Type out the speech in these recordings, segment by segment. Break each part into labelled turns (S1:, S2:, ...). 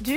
S1: Du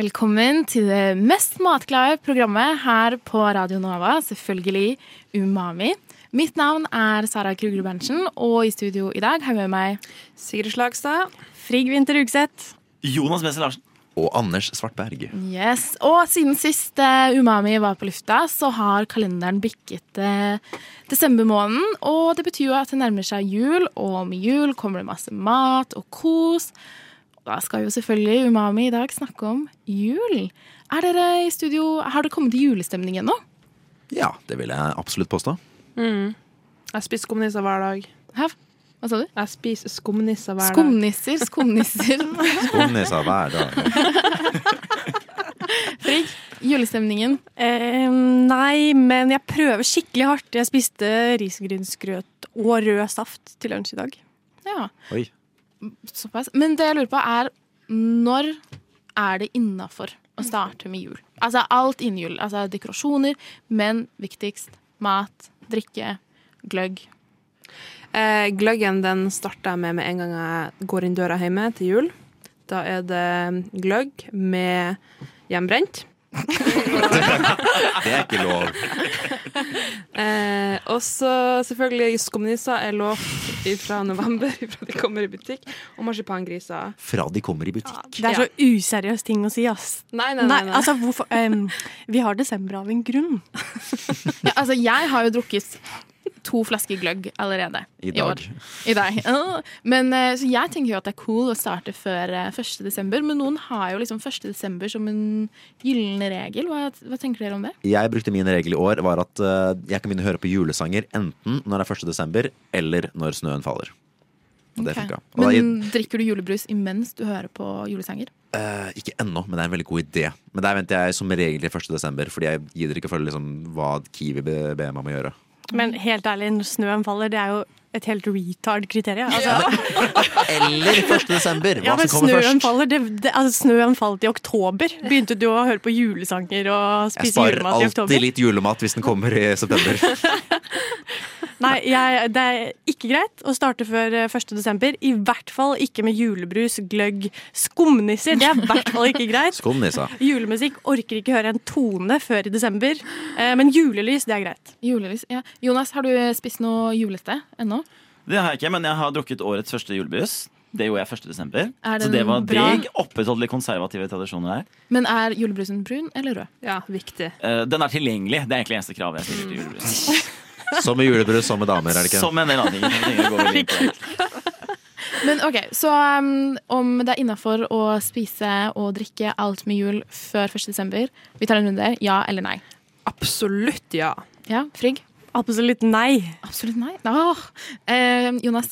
S2: Velkommen til det mest matglade programmet her på Radio Nova, selvfølgelig Umami. Mitt navn er Sara Krugerud Berntsen, og i studio i dag har jeg med meg
S3: Sigrid Slagstad.
S2: Frigg Winther Rugseth.
S4: Jonas Bessel Larsen. Og Anders Svartberg.
S2: Yes. Og siden sist eh, Umami var på lufta, så har kalenderen bikket eh, desembermåneden. Og det betyr jo at det nærmer seg jul, og med jul kommer det masse mat og kos. Da skal jo selvfølgelig Umami i dag snakke om jul. Er dere i studio, Har dere kommet i julestemning ennå?
S4: Ja, det vil jeg absolutt påstå.
S3: Jeg spiser skumnisser hver dag.
S2: Hæ? Hva sa du?
S3: Jeg spiser skumnisser hver dag.
S2: Skumnisser, skumnisser.
S4: Skål nesa hver dag.
S2: Frigg, julestemningen.
S5: Eh, nei, men jeg prøver skikkelig hardt. Jeg spiste risgrynsgrøt og rød saft til lunsj i dag.
S2: Ja,
S4: Oi.
S2: såpass. Men det jeg lurer på er, når er det innafor å starte med jul? Altså alt innen jul. Altså dekorasjoner, men viktigst mat, drikke, gløgg.
S3: Eh, gløggen den starter jeg med med en gang jeg går inn døra hjemme til jul. Da er det gløgg med hjemmebrent.
S4: Det er ikke lov.
S3: Eh, og så selvfølgelig skumnisser er lovt fra november, fra de kommer i butikk. Og marsipangriser.
S4: Fra de kommer i butikk.
S5: Det er så useriøs ting å si, ass.
S3: Nei, nei,
S5: Nei,
S3: nei. nei.
S5: altså hvorfor em, Vi har desember av en grunn.
S2: Ja, altså jeg har jo drukket to flasker gløgg allerede
S4: I dag.
S2: år. I dag. Ja. Men, eh, så jeg tenker jo at det er cool å starte før eh, 1. desember, men noen har jo liksom 1. desember som en gyllen regel. Hva, hva tenker dere om det?
S4: Jeg brukte min regel i år var at eh, jeg kan begynne å høre på julesanger enten når det er 1. desember, eller når snøen faller. Og det
S2: Ok.
S4: funka. Og da-
S2: Men drikker du julebrus imens du hører på julesanger?
S4: Eh, ikke ennå, men det er en veldig god idé. Men der venter jeg som regel til 1. desember, fordi jeg gidder ikke å følge liksom, hva Kiwi be- ber meg om å gjøre.
S5: Men helt ærlig, når snøen faller, det er jo et helt retard kriterium. Altså,
S4: Eller 1. desember! Hva
S5: ja, men
S4: som kommer
S5: snøen
S4: først.
S5: faller, det, det, altså, snøen falt i oktober. Begynte du å høre på julesanger og
S4: Jeg
S5: spise
S4: sparer
S5: julemat i
S4: alltid
S5: oktober?
S4: litt julemat hvis den kommer i september.
S5: Nei, jeg, det er ikke greit å starte før eh, 1. desember. I hvert fall ikke med julebrus, gløgg, skumnisser. Det er i hvert fall ikke greit.
S4: Skål, nesa.
S5: Julemusikk orker ikke høre en tone før i desember, eh, men julelys, det er greit.
S2: Julelys, ja. Jonas, har du spist noe julete ennå?
S6: Det har jeg ikke, men jeg har drukket årets første julebrus. Det gjorde jeg 1. desember.
S2: Er den
S6: Så det var
S2: bra?
S6: digg. Opprettholdt litt konservative tradisjoner her.
S2: Men er julebrusen brun eller rød?
S3: ja, viktig.
S6: Eh, den er tilgjengelig. Det er egentlig eneste kravet jeg stiller til julebrus.
S4: Som med julebrus, som med damer, er det ikke?
S6: Som en del andre ting. Jeg tenker å gå veldig inn på det.
S2: Men ok, Så um, om det er innafor å spise og drikke alt med jul før 1. desember, vi tar en runde. Ja eller nei?
S3: Absolutt ja.
S2: Ja, Frigg?
S5: Absolutt nei.
S2: Absolutt nei. Åh. Eh, Jonas?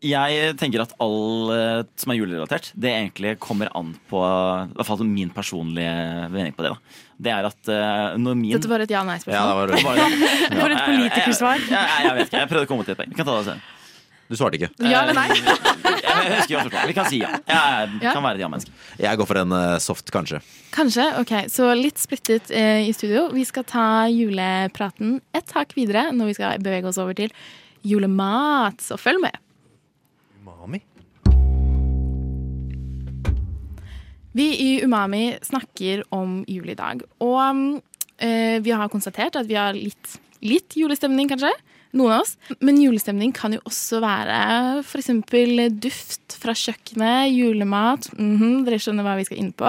S6: Jeg tenker at alt eh, som er julerelatert, det egentlig kommer an på I hvert fall min personlige mening på det. da. Det er at eh, når min
S2: Dette var et
S4: Ja, det
S2: ja-nei-spørsmål.
S4: var,
S6: Var det-
S5: For et
S6: Ja,
S5: politikersvar.
S6: Jeg, jeg, jeg, jeg vet ikke. Jeg prøvde å komme til et poeng. Vi kan ta det senere.
S4: du svarte ikke.
S2: Ja, eller nei?
S6: Jeg husker jo også- Vi kan si ja. Jeg
S2: Ja.
S6: kan være et ja-menneske.
S4: Jeg går for en eh, soft, kanskje.
S2: Kanskje. ok. Så litt splittet eh, i studio. Vi skal ta julepraten et hakk videre når vi skal bevege oss over til julemat. Så følg med.
S7: Umami.
S2: Vi i Umami snakker om jul i dag. Og mm, eh, vi har konstatert at vi har litt, litt julestemning, kanskje. Noen av oss. Men julestemning kan jo også være f.eks. duft fra kjøkkenet, julemat. Mhm, dere skjønner hva vi skal inn på.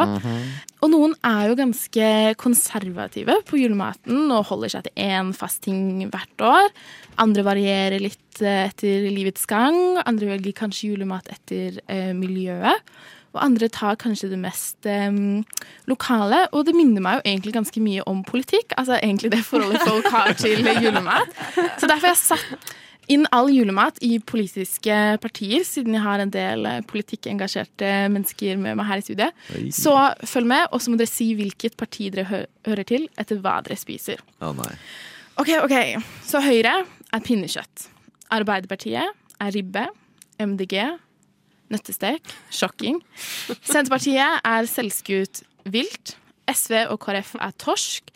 S2: Og noen er jo ganske konservative på julematen og holder seg til én fast ting hvert år. Andre varierer litt eh, etter livets gang. Andre velger kanskje julemat etter eh, miljøet. Og andre tar kanskje det mest em, lokale. Og det minner meg jo egentlig ganske mye om politikk. Altså egentlig det forholdet folk har til julemat. Så derfor har jeg satt inn all julemat i politiske partier, siden jeg har en del eh, politikkengasjerte mennesker med meg her i studiet. Så følg med, og så må dere si hvilket parti dere hø hører til, etter hva dere spiser.
S4: Å, nei.
S2: Ok, ok. Så Høyre er pinnekjøtt. Arbeiderpartiet er ribbe. MDG nøttestek. Sjokking. Senterpartiet er selvskutt vilt. SV og KrF er torsk.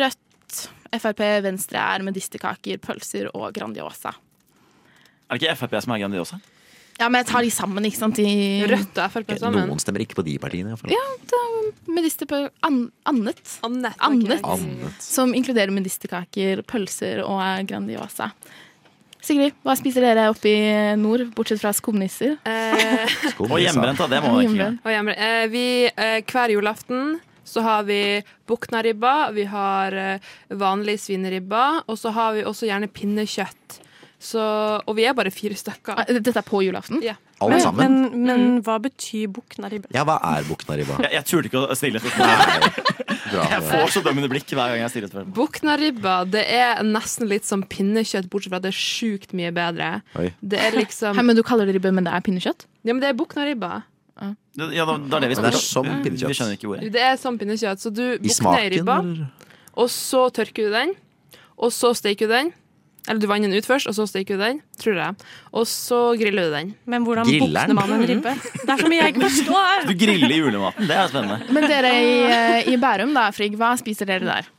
S2: Rødt, Frp, Venstre er medisterkaker, pølser og Grandiosa.
S6: Er det ikke Frp som er Grandiosa?
S2: Ja, men jeg tar de sammen, ikke sant? De
S3: Rødt og Frp sammen.
S4: Noen stemmer ikke på de partiene. i hvert fall.
S2: medister på an annet.
S3: Annet.
S2: Annet.
S4: Annet.
S2: Som inkluderer medisterkaker, pølser og Grandiosa. Sigrid, hva spiser dere oppe i nord, bortsett fra skumnisser?
S3: Eh,
S4: Skål,
S6: Og
S4: Lisa.
S6: hjemmebrent, da. Det må man ikke gjøre.
S2: Hjemmebrent.
S3: Og hjemme. Eh, vi, eh, hver julaften så har vi buknaribba, vi har eh, vanlig svineribba, og så har vi også gjerne pinnekjøtt. Så, og vi er bare fire stykker.
S2: Ah, Dette er på julaften?
S3: Ja.
S4: Alle
S5: Men,
S4: sammen.
S5: men, men hva betyr buknaribbe?
S4: Ja, hva er Buknariba?
S6: Jeg, jeg turte ikke å stille et spørsmål.
S4: Bra.
S6: Jeg får så dømmende blikk hver gang jeg stiller et spørsmål.
S3: Buknaribba det er nesten litt som pinnekjøtt, bortsett fra at det er sjukt mye bedre.
S4: Oi.
S3: Det er liksom
S2: Hæ, men Du kaller det ribbe, men det er pinnekjøtt?
S3: Ja, men det er buknaribba.
S6: Det- Ja, da, da er sånn det vi
S4: Det er
S6: spør om.
S4: som
S6: Vi skjønner
S4: pinnekjøtt.
S6: ikke ordet.
S3: Det er sånn pinnekjøtt. Så du
S4: I
S3: bukner
S4: smaken?
S3: ribba,
S4: eller?
S3: og så tørker du den, og så steker du den. Eller du vanner den ut først, og så steker du den, tror jeg. Og så griller du den.
S5: Men hvordan
S4: Griller den?
S5: bukner man en ribbe? Det er så mye jeg ikke forstår!
S6: Du griller julematen. Det er spennende.
S2: Men dere i, i Bærum, da, Frigg, hva spiser dere der?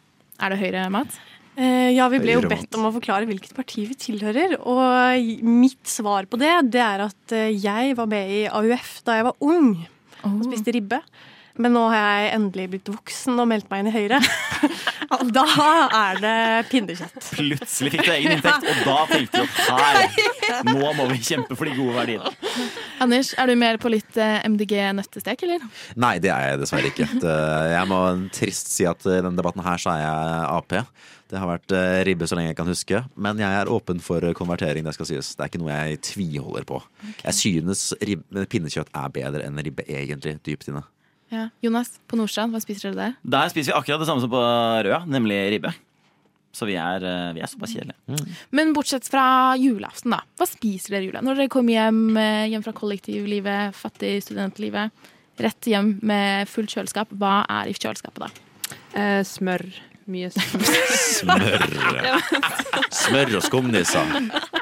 S2: Er det høyre mat?
S5: Eh, ja, vi ble jo
S4: Høyre
S5: bedt
S4: vant.
S5: om å forklare hvilket parti vi tilhører. Og mitt svar på det, det er at eh, jeg var med i AUF da jeg var ung og spiste ribbe. Men nå har jeg endelig blitt voksen og meldt meg inn i Høyre. Og da er det pinnekjøtt.
S6: Plutselig fikk du egen inntekt, og da tenkte du at her, nå må vi kjempe for de gode verdiene.
S2: Anders, er du mer på litt eh, MDG nøttestek, eller?
S4: Nei, det er jeg dessverre ikke. Det- Jeg må trist si at i denne debatten her så er jeg Ap. Det har vært eh, ribbe så lenge jeg kan huske. Men jeg er åpen for konvertering, det skal sies. Det er ikke noe jeg tviholder på. Jeg synes ribbe, pinnekjøtt er bedre enn ribbe, egentlig, dypt inne.
S2: Ja. Jonas, på Nordstrand, hva spiser dere der?
S6: Der spiser vi akkurat det samme som på Røa, nemlig ribbe. Så vi er, eh, vi er såpass kjedelige.
S2: Men bortsett fra julaften, da. Hva spiser dere i jula? Når dere kommer hjem, eh, hjem fra kollektivlivet, fattig studentlivet, rett hjem med fullt kjøleskap, hva er i kjøleskapet da?
S3: Eh, smør. Mye smør.
S4: Smør. Smør og skumnisser.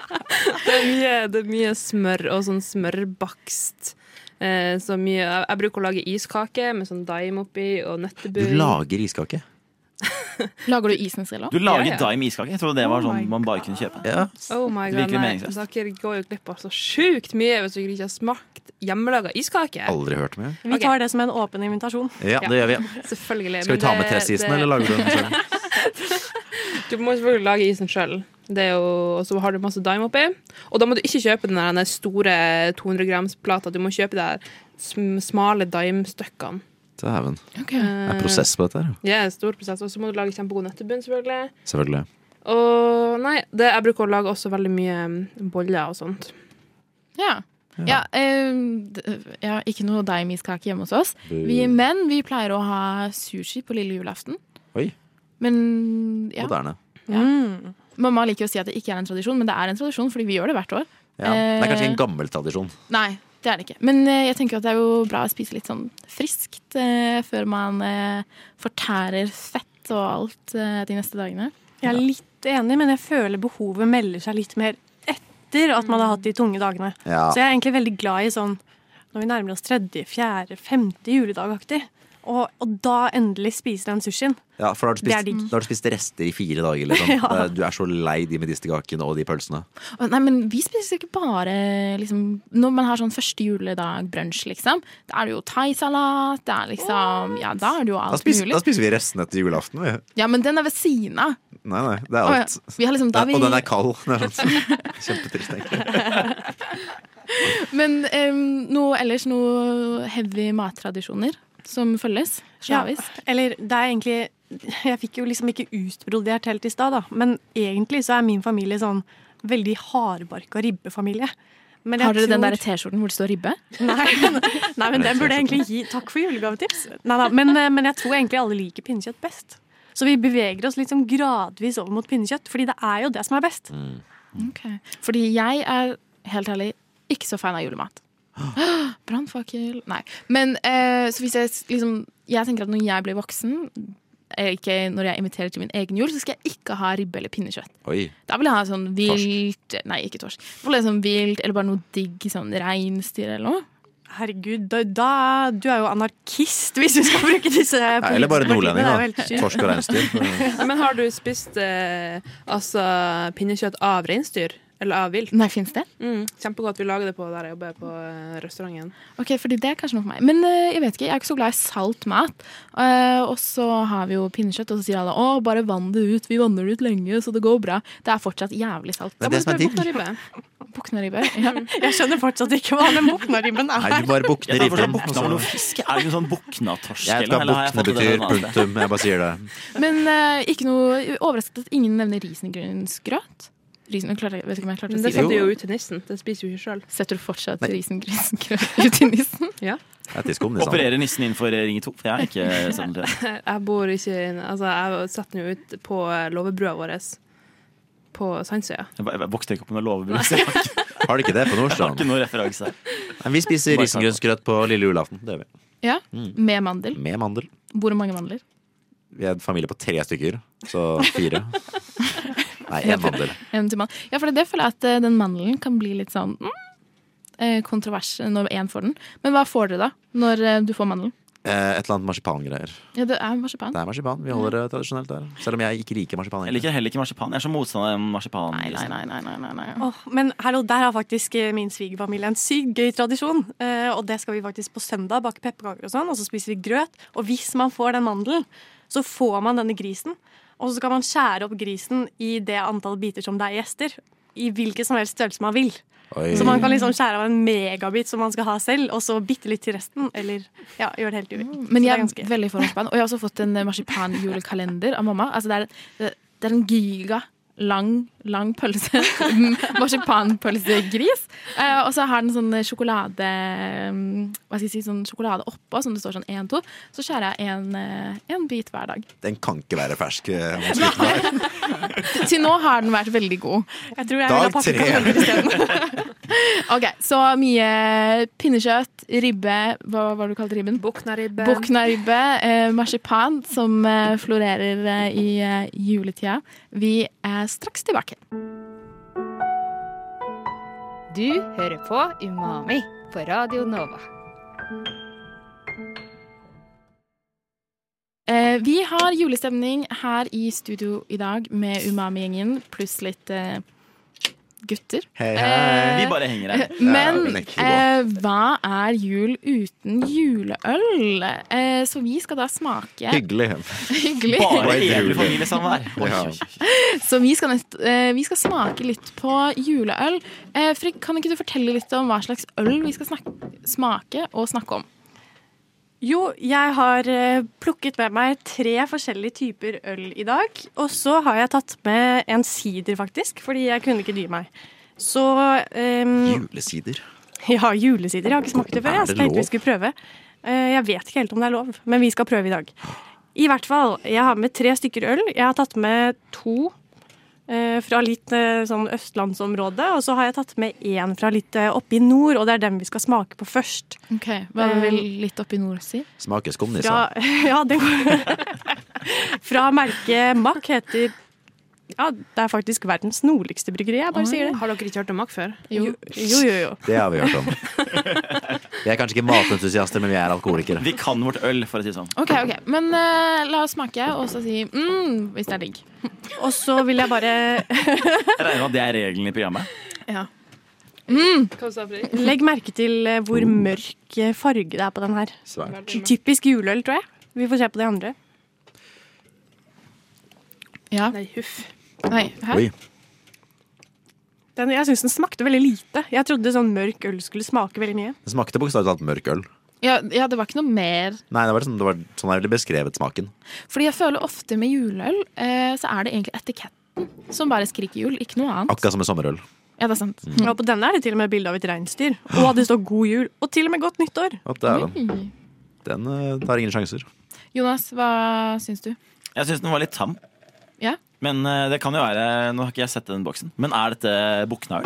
S3: Det er mye, det er mye smør og sånn smørbakst. Eh, så mye, jeg, jeg bruker å lage iskake med sånn daim oppi og
S4: Du
S3: nøttebunn.
S4: lager iskake?
S2: Lager du isen selv òg?
S6: Du lager
S3: Ja, ja.
S6: daim iskake. Jeg trodde det var sånn man bare kunne kjøpe.
S4: Ja.
S3: Oh my
S6: Det er
S3: god,
S6: virkelig
S3: nei.
S6: meningsløst.
S3: Dere går jo glipp av så sjukt mye hvis dere ikke har smakt hjemmelaga iskake.
S4: Aldri hørt om. jeg.
S5: Vi
S3: Ok.
S5: tar det som en åpen invitasjon.
S4: Ja, det gjør vi.
S3: Selvfølgelig.
S4: Skal vi
S3: men
S4: ta med
S3: det-
S4: tressisen,
S3: det-
S4: eller lager du den selv?
S3: Du må selvfølgelig lage isen sjøl. Og så har du masse daim oppi. Og da må du ikke kjøpe den der den store 200 grams-plata. Du må kjøpe de der sm smale daimstykkene.
S4: Dæven. Det
S3: Eh,
S4: er prosess på dette her. jo.
S3: Ja, stor prosess. Og så må du lage kjempegod nøttebunn, selvfølgelig.
S4: Selvfølgelig.
S3: Og nei, det, jeg bruker å lage også veldig mye mm, boller og sånt.
S2: Ja. Ja, eh, d- ja, ikke noe daimiskake hjemme hos oss.
S4: Eh.
S2: Vi, men vi pleier å ha sushi på lille julaften.
S4: Oi.
S2: Men ja.
S4: Moderne.
S2: Mamma liker å si at det ikke er en tradisjon, men det er en tradisjon fordi vi gjør det hvert år.
S4: Ja. Det er kanskje
S2: Eh.
S4: en gammel tradisjon.
S2: Nei, det er det ikke. Men eh, jeg tenker at det er jo bra å spise litt sånn friskt eh, før man eh, fortærer fett og alt eh, de neste dagene.
S5: Jeg er litt enig, men jeg føler behovet melder seg litt mer etter at man har hatt de tunge dagene.
S4: Ja.
S5: Så jeg er egentlig veldig glad i sånn når vi nærmer oss tredje, fjerde, femte juledag-aktig. Og, og da endelig spiser den sushien.
S4: Ja, for da har du
S5: Det er
S4: spist,
S5: digg.
S4: da har du spist rester i fire dager. Liksom.
S5: Ja.
S4: Eh, Du er så lei de medisterkakene og de pølsene.
S2: Å, Nei, men vi spiser ikke bare liksom, Når man har sånn første juledag-brunsj, liksom, da er det jo thaisalat, det er liksom Ja, da er det jo
S4: Da
S2: alt
S4: spiser,
S2: mulig.
S4: da spiser vi restene etter julaften. Vi.
S2: Ja, men den er ved siden av.
S4: Nei, nei, det er
S2: Å, ja.
S4: alt.
S2: Vi har liksom, da
S4: Ja,
S2: har vi,
S4: Og den er kald. Det er sant. Kjempetrist, egentlig.
S2: men em, noe ellers, noe heavy mattradisjoner som følges? Slavisk?
S5: Eller det er egentlig Jeg fikk jo liksom ikke utbrodert helt i stad, da. Men egentlig så er min familie sånn veldig hardbarka ribbefamilie. Men jeg
S2: Har dere den
S5: tror-
S2: der T-skjorten hvor det står ribbe?
S5: Nei, nei, men den burde jeg egentlig gi Takk for julegavetips. Nei, da, men, eh, men jeg tror egentlig alle liker pinnekjøtt best. Så vi beveger oss liksom gradvis over mot pinnekjøtt, fordi det er jo det som er best.
S2: Ok. Fordi jeg er helt ærlig ikke så fan av julemat. Brannfakkel Nei. Men eh, så hvis jeg s- liksom Jeg tenker at når jeg blir voksen, eh, ikke når jeg inviterer til min egen jul, så skal jeg ikke ha ribbe eller pinnekjøtt.
S4: Oi.
S2: Da vil jeg ha sånn vilt Nei, ikke torsk. Da vil jeg ha sånn vilt eller bare noe digg sånn reinsdyr eller noe.
S5: Herregud, da, da, du er jo anarkist hvis du skal bruke disse
S4: Nei, eller bare
S5: politiske
S4: nordlending,
S5: partiene, det er jo
S4: da.
S5: helt sykt.
S4: Torsk og reinsdyr.
S3: Nei, Men har du spist eh, altså, pinnekjøtt av reinsdyr? Eller av vilt?
S2: Nei, fins det?
S3: Mm, kjempegodt. Vi lager det på der jeg jobber, på eh, restauranten.
S2: Ok, fordi det er kanskje noe for meg. Men eh, jeg vet ikke, jeg er ikke så glad i salt mat. Eh, og så har vi jo pinnekjøtt, og så sier alle å, bare vann det ut. Vi vanner det ut lenge, så det går bra. Det er fortsatt jævlig salt.
S4: Det er det som er digg.
S3: Ribbe.
S2: Buknaribbe. Ja.
S5: Jeg skjønner fortsatt ikke hva den buknaribben er.
S4: Nei, du bare
S6: Jeg
S4: bukner
S6: tar
S4: ribben.
S6: for sånn bukna med noe fisk. Er det ikke sånn buknatorsk?
S4: Jeg vet hva
S6: eller har jeg
S4: bukne
S6: fått det
S4: betyr.
S6: fra noe annet sted?
S4: Punktum. Jeg bare sier det.
S2: Men eh, ikke noe overrasket at ingen nevner risengrynsgrøt. Risen, jeg klarer- jeg vet ikke om jeg klarte
S3: Men
S2: å
S3: det
S2: si det.
S3: setter jo ut til nissen. Det spiser jo ikke sjøl.
S2: Setter du fortsatt risengrynsgrøt ut i nissen?
S4: Det er tiskum, det, sant?
S6: Opererer nissen innenfor Ring 2? Jeg har ikke sett det.
S3: Jeg bor ikke inn- Altså, jeg setter den jo ut på eh, låvebrua vår på Sandsøya.
S6: Jeg bare- jeg vokste ikke opp med noe lovbruk, så jeg har
S4: Har de ikke det på
S6: ikke
S4: Nordstrand?
S6: noen referanse her.
S4: Nei, Vi spiser
S6: Bare
S4: risengrynsgrøt på lille julaften. Det gjør vi.
S2: Ja.
S3: Mm.
S2: Med mandel.
S4: Med mandel.
S2: Hvor mange mandler?
S4: Vi er en familie på tre stykker, så fire. Nei, én mandel.
S2: En til mandel. Ja, for det føler jeg at eh, den mandelen kan bli litt sånn mm, eh, kontrovers når én får den. Men hva får dere da, når eh, du får mandelen?
S4: Eh, Et eller annet marsipangreier.
S2: Ja, det er marsipan.
S4: Det er marsipan. Vi holder det tradisjonelt der. Selv om jeg ikke liker marsipan.
S6: Jeg
S4: egentlig.
S6: liker heller ikke marsipan. Jeg er så motstander av marsipan. liksom.
S2: Nei, nei, nei, nei, nei, nei, nei.
S5: Åh, men hallo, der har faktisk eh, min svigerfamilie en sykt gøy tradisjon. Eh, og det skal vi faktisk på søndag bake pepperkaker og sånn, og så spiser vi grøt. Og hvis man får den mandelen, så får man denne grisen. Og så kan man skjære opp grisen i det antall biter som det er gjester. I hvilken som helst størrelse man vil.
S4: Oi.
S5: Så man kan liksom skjære av en megabit som man skal ha selv, og så bitte litt til resten. Eller ja, gjør det helt du vil.
S2: Mm. Men
S5: Så det
S2: jeg
S5: er ganske-
S2: er veldig for marsipan. Og jeg har også fått en eh, marsipanjulekalender av mamma. Altså, det, er, det er en giga lang, lang pølse. Marsipanpølsegris. Eh, og så har den sånn sjokolade mm, Hva skal jeg si, sånn sjokolade oppå, som det står sånn én, to. Så skjærer jeg en, eh, en bit hver dag.
S4: Den kan ikke være fersk. eh,
S2: Til nå har den vært veldig god.
S5: Jeg tror jeg
S4: Dag
S5: vil ha pappekaker isteden.
S2: Ok, Så mye pinnekjøtt, ribbe Hva var det du kalte ribben?
S3: Buknaribbe.
S2: Buknaribbe, eh, marsipan, som eh, florerer eh, i eh, juletida. Vi er straks tilbake.
S8: Du hører på Umami på Radio Nova.
S2: Eh, vi har julestemning her i studio i dag med Umami-gjengen pluss litt eh, gutter.
S4: Hei,
S2: Eh,
S6: Vi bare henger her.
S2: Men
S4: Ja, vi nekter å
S2: eh, hva er jul uten juleøl? Eh, så vi skal da smake
S4: Hyggelig.
S2: Hyggelig.
S6: Bare
S4: Bare
S6: evig
S4: druer.
S6: familiesamvær. Oi,
S4: Ja.
S6: oi, oi.
S2: Så vi skal, nest, eh, vi skal smake litt på juleøl. Eh, Frikk, kan ikke du fortelle litt om hva slags øl vi skal snakke, smake og snakke om?
S5: Jo, jeg har eh, plukket med meg tre forskjellige typer øl i dag. Og så har jeg tatt med en sider, faktisk, fordi jeg kunne ikke dy meg. Så ehm,
S4: Julesider.
S5: Ja, julesider. Jeg har ikke smakt det før.
S4: Er
S5: Jeg
S4: det
S5: så tenkte
S4: lov?
S5: vi skulle prøve. Eh, Jeg vet ikke helt om det er lov, men vi skal prøve i dag. I hvert fall, jeg har med tre stykker øl. Jeg har tatt med to eh, fra litt eh, sånn østlandsområde, og så har jeg tatt med én fra litt eh, oppe i nord, og det er den vi skal smake på først.
S2: Ok, Hva vil litt oppi nord si?
S4: Smaker skumnisse.
S5: Fra, ja, det fra merket Mack heter Ja, det er faktisk verdens nordligste bryggeri, jeg bare sier det.
S3: Har dere ikke hørt om makk før?
S2: Jo.
S5: Jo, jo, jo.
S4: Det har vi hørt om. Vi er kanskje ikke matentusiaster, men vi er alkoholikere.
S6: Vi kan vårt øl, for å si det sånn.
S2: Ok, ok. Men eh, la oss smake og så si mm, hvis det er digg.
S5: Og så vil jeg bare
S6: Jeg regner med at det er regelen i programmet.
S3: Hva sa Fredrik?
S5: Legg merke til eh, hvor mørk eh, farge det er på den her.
S4: Svært.
S5: Typisk juleøl, tror jeg. Vi får se på de andre.
S2: Ja.
S3: Nei, huff.
S2: Nei, hæ?
S4: Oi.
S5: Den, jeg syns den smakte veldig lite. Jeg trodde sånn mørk øl skulle smake veldig mye.
S4: Det smakte bokstavelig talt mørk øl.
S2: Ja, ja, det var ikke noe mer.
S4: Nei, det var sånn, det var sånn jeg ville beskrevet smaken.
S2: Fordi jeg føler ofte med juleøl, eh, så er det egentlig etiketten som bare skriker jul, ikke noe annet.
S4: Akkurat som med sommerøl.
S2: Ja, det er sant.
S5: Og på denne er det til og med bilde av et reinsdyr. Og det står 'God jul'. Og til og med 'Godt nyttår'.
S4: Å, dæven.
S2: Oi.
S4: Den eh, tar ingen sjanser.
S2: Jonas, hva syns du?
S6: Jeg syns den var litt tam.
S2: Ja?
S6: Men eh, det kan jo være Nå har ikke jeg sett den boksen, men er dette buknaøl?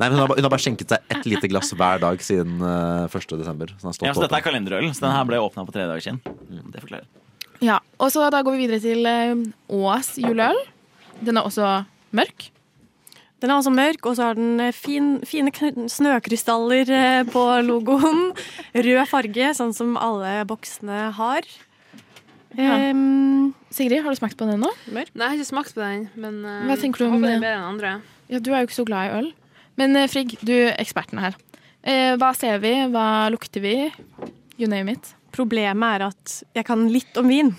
S4: Nei, men hun har, ba- hun har bare skjenket seg ett lite glass hver dag siden eh, 1. desember. Så, den har stått
S6: Ja, så dette
S4: åpen.
S6: er kalenderølen, så den her ble åpna på tre dager siden. Det forklarer.
S2: Ja, og så da går vi videre til eh, Ås juleøl. Den er også mørk.
S5: Den er altså mørk, og så har den eh, fin, fine kn- snøkrystaller eh, på logoen. Rød farge, sånn som alle boksene har.
S2: Ja.
S5: Ehm,
S2: Sigrid, har du smakt på den nå?
S3: Nei, jeg har ikke smakt på den, men eh,
S2: Hva tenker du om
S3: jeg håper
S2: det?
S3: den er bedre enn andre.
S2: Ja, Du er jo ikke så glad i øl. Men eh, Frigg, du er eksperten her. Eh, hva ser vi? Hva lukter vi? You name it.
S5: problemet er at jeg kan litt om vin.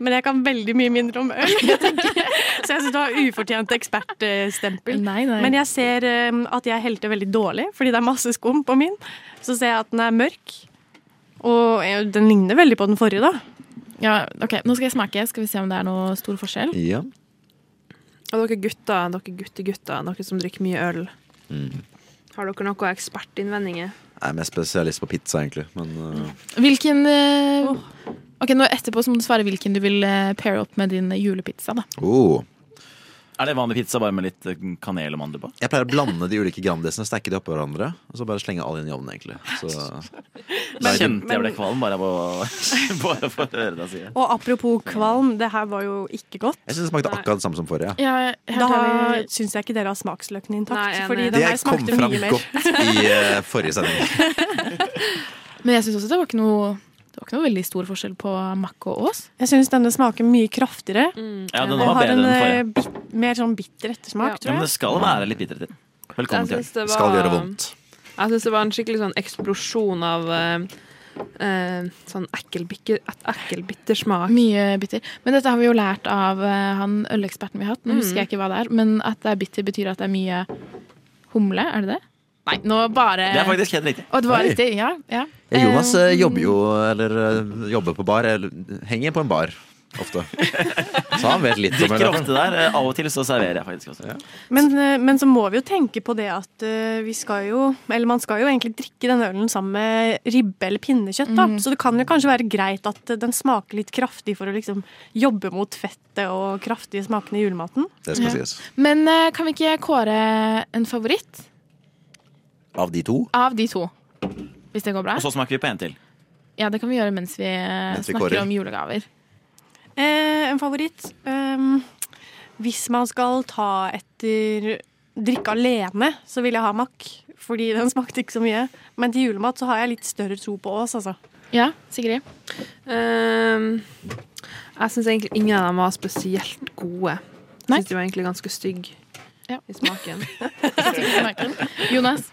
S5: Men jeg kan veldig mye mindre om øl. Jeg tenker. Så jeg syns du har ufortjent ekspertstempel.
S2: Nei, nei.
S5: Men jeg ser eh, at jeg helte veldig dårlig, fordi det er masse skum på min. Så ser jeg at den er mørk. Og eh, den ligner veldig på den forrige, da.
S2: Ja, ok, Nå skal jeg smake. Skal vi se om det er noe stor forskjell.
S4: Ja.
S3: Og dere gutter, dere guttegutter, dere som drikker mye øl.
S4: Mm.
S3: Har dere noen ekspertinnvendinger?
S4: Jeg er mest spesialist på pizza, egentlig. Men eh,
S2: Hvilken eh, Ok, nå Etterpå så må du svare hvilken du vil eh, paire opp med din julepizza. da.
S4: oh.
S6: Er det vanlig pizza bare med litt eh, kanel og mandler på?
S4: Jeg pleier å blande de ulike Grandisene, stakke de oppå hverandre og så bare slenge alle inn i ovnen. egentlig så,
S6: Da kjente jeg ble kvalm bare av å bare av å høre deg si det.
S5: Og apropos kvalm, det her var jo ikke godt.
S4: Jeg syns det smakte akkurat det samme som forrige.
S2: Ja,
S5: Da syns jeg ikke dere har smaksløkene
S3: Nei,
S5: intakt.
S3: jeg er
S5: fordi
S3: enig.
S5: den
S4: Det
S5: her
S4: kom
S5: smakte
S4: fram
S5: mye mer.
S4: godt i eh, forrige sending.
S2: Men jeg syns også det var ikke noe Det var ikke noe veldig stor forskjell på Mack og Ås.
S5: Jeg syns denne smaker mye kraftigere.
S6: Ja, den
S5: Den
S6: var
S5: har
S6: bedre
S5: en
S6: enn forrige.
S5: eh, bit, mer sånn bitter ettersmak,
S3: Mm. Ja.
S6: Ja,
S5: tror
S6: men
S5: jeg.
S6: det skal være litt bitter til. Velkommen
S3: Jeg
S6: til.
S3: syns det,
S4: Det skal gjøre
S3: var-
S4: vondt.
S3: jeg synes det var en skikkelig sånn eksplosjon av eh, eh, sånn ekkel, bikke, et ekkel bittersmak.
S2: Mye bitter. Men dette har vi jo lært av eh, han øleksperten vi har
S6: Mm.
S2: hatt. Nå husker jeg ikke hva det er, men at det er bitter betyr at det er mye humle. Er det det? Nei, nå bare
S6: Det er faktisk helt riktig.
S2: Og det var
S4: Oi.
S2: riktig, ja. ja.
S4: Ja, Jonas
S2: Eh,
S4: eh, jobber jo eller eh, jobber på bar, eller henger på en bar ofte. Så han vet litt om
S6: Drikker
S4: det.
S6: ofte der. eh, Av og til så serverer jeg faktisk også.
S5: Men, eh, men så må vi jo tenke på det at eh, vi skal jo Eller man skal jo egentlig drikke denne ølen sammen med ribbe eller pinnekjøtt,
S3: Mm.
S5: da. Så det kan jo kanskje være greit at eh, den smaker litt kraftig for å liksom jobbe mot fettet og kraftige smakene i julematen.
S4: Det skal sies.
S2: Men eh, kan vi ikke kåre en favoritt
S4: Av de to
S2: av de to? Hvis det går bra?
S6: Og så smaker vi på en til.
S2: Ja, det kan vi gjøre mens vi, eh,
S4: Mens vi
S2: snakker
S4: kårer.
S2: om julegaver.
S5: Eh, en favoritt ehm, Hvis man skal ta etter drikke alene, så vil jeg ha makk. Fordi den smakte ikke så mye. Men til julemat så har jeg litt større tro på Ås, altså.
S2: Ja, Sigrid?
S3: Ehm, jeg syns egentlig ingen av dem var spesielt gode. Jeg
S2: Nei.
S3: syns de var egentlig ganske stygge
S2: Ja.
S3: i smaken.
S2: Jonas?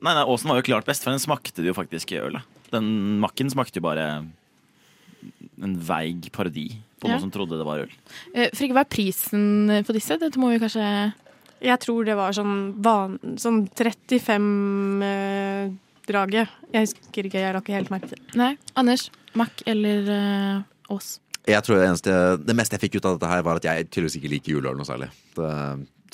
S6: Nei, nei, Åsen var jo klart best, for den smakte det jo faktisk i ølet. Den makken smakte jo bare en veig parodi på
S2: Ja.
S6: noen som trodde det var øl.
S2: Eh, Frigg, hva er prisen på disse? Dette må vi kanskje
S5: Jeg tror det var sånn, van, sånn 35-draget. jeg husker ikke, jeg la ikke helt merke til det.
S2: Nei. Anders? Mack eller eh, Ås?
S4: Jeg tror det, eneste, det meste jeg fikk ut av dette her, var at jeg tydeligvis ikke liker juleøl noe særlig. Det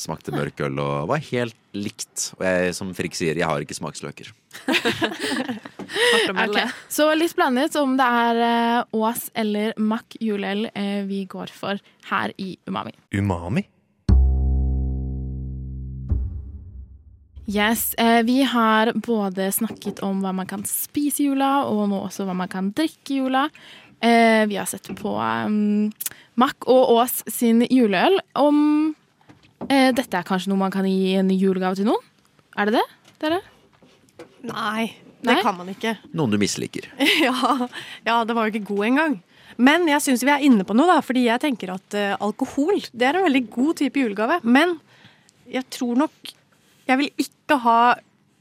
S4: smakte mørk øl og var helt likt. Og jeg, som Frikk sier, jeg har ikke smaksløker.
S3: Hardt å melde.
S2: Ok, Så litt blandet om det er eh, Ås eller Mack juleøl eh, vi går for her i Umami.
S7: Umami?
S2: Yes, eh, Vi har både snakket om hva man kan spise i jula, og nå også hva man kan drikke i jula. Eh, vi har sett på um, Mack og Aas sin juleøl. Om eh, dette er kanskje noe man kan gi en julegave til noen? Er det det? dere?
S5: Nei, det
S2: Nei?
S5: kan man ikke.
S4: Noen du misliker.
S5: ja, ja, den var jo ikke god engang. Men jeg syns vi er inne på noe, da, fordi jeg tenker at eh, alkohol det er en veldig god type julegave. Men jeg tror nok Jeg vil ikke ha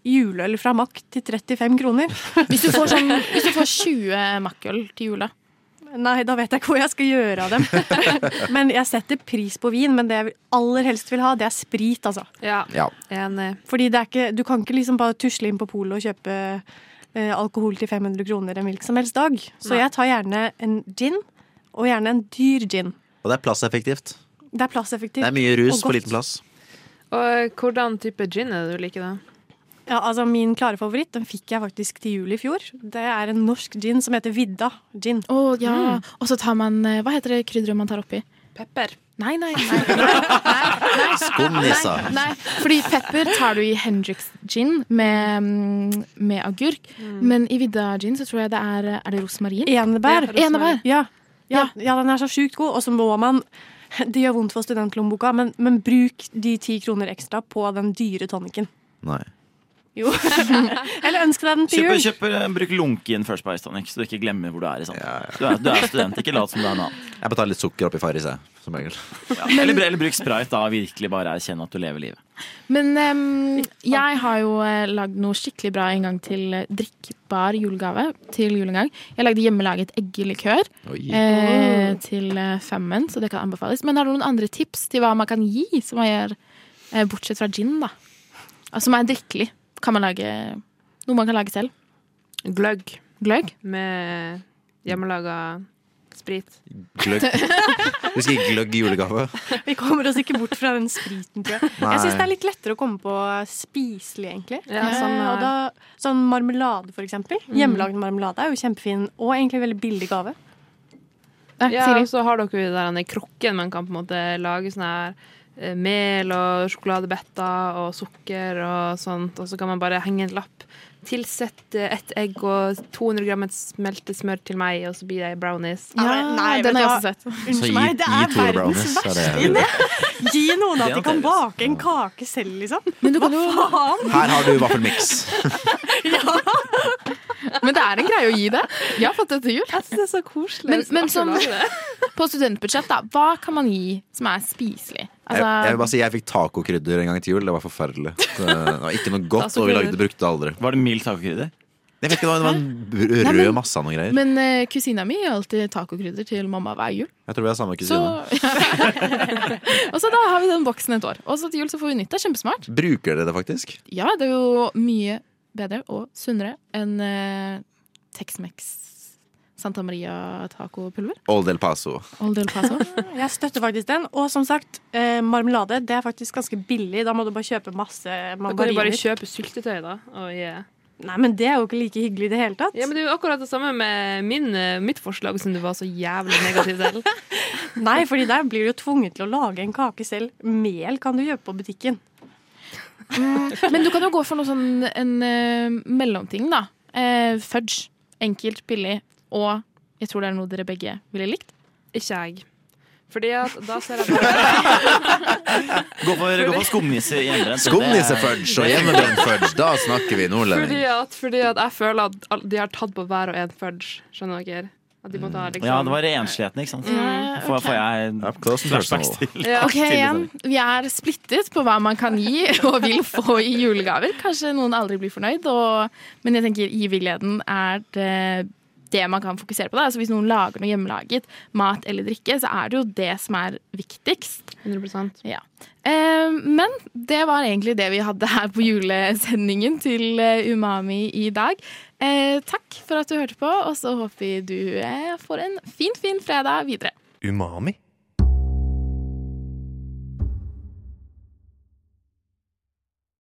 S5: juleøl fra Mack til 35 kroner.
S2: Hvis du får, sånn, hvis du får 20 Mack-øl til jula.
S5: Nei, da vet jeg ikke hva jeg skal gjøre av dem. men jeg setter pris på vin, men det jeg aller helst vil ha, det er sprit, altså.
S3: Ja,
S4: Ja.
S3: enig.
S5: Fordi det er ikke, du kan ikke liksom bare tusle inn på polet og kjøpe eh, alkohol til 500 kroner en hvilken som helst dag. Så
S3: Nei.
S5: jeg tar gjerne en gin, og gjerne en dyr gin.
S4: Og det er plasseffektivt.
S5: Det er plasseffektivt.
S4: Det er mye rus
S5: Og
S4: på
S5: godt.
S4: liten plass.
S3: Og hvordan type gin er det du liker, da?
S5: Ja, altså Min klare favoritt den fikk jeg faktisk til jul i fjor. Det er en norsk gin som heter Vidda gin.
S2: Å ja. Mm. Og så tar man eh, Hva heter det krydderet man tar oppi?
S3: Pepper.
S2: Nei, nei, nei. nei, nei,
S4: Skum, Lisa.
S2: nei, nei. Fordi pepper tar du i Hendrix gin med, mm, med agurk. Men i Vidda gin så tror jeg det er eh, Er det rosmarin?
S5: Enebær.
S3: Ja,
S2: Enebær.
S5: Ja. Ja, ja, den er så sjukt god. Og så må man Det gjør vondt for studentlommeboka, men, men bruk de ti kroner ekstra på den dyre tonikken.
S4: Nei.
S5: Jo. Eller ønsk deg den til
S6: Kjøp,
S5: jul.
S6: kjøp, eh, bruk lunken First Price Tonic, så du ikke glemmer hvor du er. i sant? Du, er, du er student, ikke lat som du er noe annet.
S4: Jeg betaler litt sukker oppi Farris, jeg. Som regel.
S6: Ja. Eller, eller bruk sprite, da. Virkelig bare erkjenne at du lever livet.
S2: Men em, jeg har jo eh, lagd noe skikkelig bra en gang til eh, drikkbar julegave til julengang. Jeg lagde hjemmelaget eggelikør
S4: Oi.
S2: eh, til eh, femmen, så det kan anbefales. Men har du noen andre tips til hva man kan gi, som man gjør eh, bortsett fra gin, da? Altså, Som er drikkelig. Kan man lage noe man kan lage selv?
S3: Gløgg
S2: Gløgg?
S3: med hjemmelaga sprit.
S4: Gløgg. Du skal gi gløgg i julegave?
S5: Vi kommer oss ikke bort fra den spriten, tror jeg.
S4: Nei.
S5: Jeg syns det er litt lettere å komme på spiselig, egentlig.
S3: Ja, samme
S5: Eh, og da, sånn marmelade, for eksempel. Hjemmelagd marmelade er jo kjempefin, og egentlig veldig billig gave.
S2: Nei,
S3: Ja,
S2: Siri.
S3: og så har dere jo den der krukken man kan på en måte lage sånn her eh, mel og sjokoladebetter og sukker og sånt, og så kan man bare henge en lapp. Tilsett eh, ett egg og 200 gram et smeltet smør til meg, og så blir det brownies.
S2: Ja,
S5: Nei, vet
S2: den har jeg
S5: du
S2: også sett.
S4: Så
S5: Unnskyld
S4: gi,
S5: meg, det
S4: gi
S5: er
S4: Tore
S5: verdens
S4: Brownies. Er
S5: verste.
S4: det,
S5: Gi noen
S6: Det
S5: at de kan
S6: noteres.
S5: bake en kake selv, liksom.
S2: Men, du kan jo,
S5: Faen!
S4: her har du vaffelmiks.
S2: men det er en greie å gi det. Jeg har fått det til jul.
S3: Jeg synes det er så koselig.
S2: Men- men
S3: Jeg skal
S2: som-
S3: lage det.
S2: På studentbudsjett, da. Hva kan man gi som er spiselig?
S4: Jeg, jeg vil
S2: Altså,
S4: bare si jeg fikk tacokrydder en gang til jul. Det var forferdelig. Det var ikke noe godt, og vi lagde brukte det aldri.
S6: Var det mild tacokrydder?
S4: Jeg vet ikke, det var en br-
S2: Nei, men-
S4: rød masse av noen greier.
S2: men eh, kusina mi gir alltid tacokrydder til mamma hver jul.
S4: Jeg tror vi har samme
S2: Så,
S4: kusine.
S2: og så da har vi den boksen et år. Og så til jul så får vi nytt. Det er kjempesmart.
S4: Bruker dere det faktisk?
S2: Ja, det er jo mye bedre og sunnere enn eh, Tex-Mex Santa Maria tacopulver.
S4: Old El Paso.
S2: Old El Paso.
S5: Jeg støtter faktisk den. Og som sagt, eh, marmelade det er faktisk ganske billig. Da må du bare kjøpe masse
S3: Da kan du bare
S5: margariner.
S3: kjøpe syltetøy, da. Og yeah.
S5: Nei, men det er jo ikke like hyggelig i det hele tatt.
S3: Ja, men Det er jo akkurat det samme med min, eh, mitt forslag, som du var så jævlig negativ til.
S5: Nei, fordi der blir du jo tvunget til å lage en kake selv. Mel kan du kjøpe på butikken.
S2: Men du kan jo gå for noe sånn en eh, mellomting, da. Eh, fudge. Enkelt, billig og jeg tror det er noe dere begge ville likt.
S3: Ikke jeg. Fordi at da ser jeg bare
S6: Gå for, gå for skumnisse i hjemmebrent.
S4: Skumnissefudge og hjemmebrent fudge. Da snakker vi
S3: fordi
S4: nordlending.
S3: at, fordi at jeg føler at all- de har tatt på hver og en fudge. Skjønner dere? At de må ta liksom
S6: Mm. Ja, det var ensligheten, ikke sant? Får, får
S4: Up
S6: jeg
S4: close and
S6: flashbacks
S4: personal.
S6: til
S3: Ja.
S2: Ok, igjen. Vi er splittet på hva man kan gi og vil få i julegaver. Kanskje noen aldri blir fornøyd, og, men jeg tenker givergleden er det, det man kan fokusere på. Da. Altså, hvis noen lager noe hjemmelaget, mat eller drikke, så er det jo det som er viktigst.
S3: 100
S2: Ja. Eh, men det var egentlig det vi hadde her på julesendingen til eh, Umami i dag. Eh, takk for at du hørte på, og så håper vi du eh, får en fin, fin fredag videre.
S7: Umami